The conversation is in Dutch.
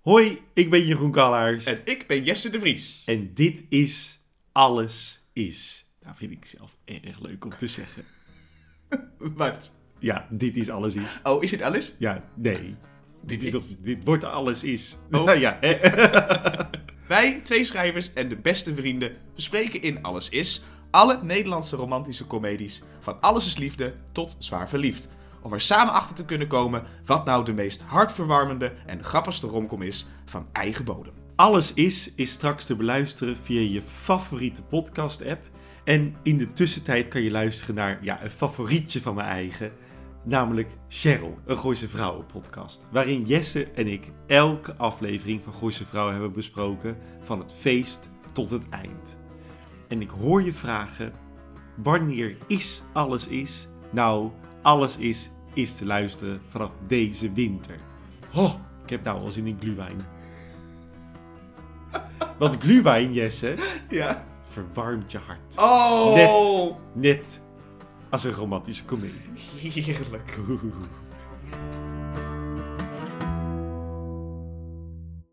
Hoi, ik ben Jeroen Kallaars. En, En ik ben Jesse de Vries. dit is Alles Is. Nou vind ik zelf erg leuk om te zeggen. Wat? Ja, dit is Alles Is. Oh, is het alles? Ja, nee. Dit, is is- toch, dit wordt Alles Is. Oh. Nou ja, hè. Wij, twee schrijvers en de beste vrienden, bespreken in Alles Is alle Nederlandse romantische comedies. Van Alles is Liefde tot Zwaar Verliefd. Om er samen achter te kunnen komen wat nou de meest hartverwarmende en grappigste romcom is van eigen bodem. Alles Is is straks te beluisteren via je favoriete podcast app. En in de tussentijd kan je luisteren naar ja, een favorietje van mijn eigen. Namelijk Cheryl, een Gooise Vrouwen podcast. Waarin Jesse en ik elke aflevering van Gooise Vrouwen hebben besproken. Van het feest tot het eind. En ik hoor je vragen, wanneer is alles is? Nou, alles is, is te luisteren vanaf deze winter. Oh, ik heb nou al zin in gluwijn. Want gluwijn, Jesse, Ja. verwarmt je hart. Oh! Net als een romantische komedie. Heerlijk.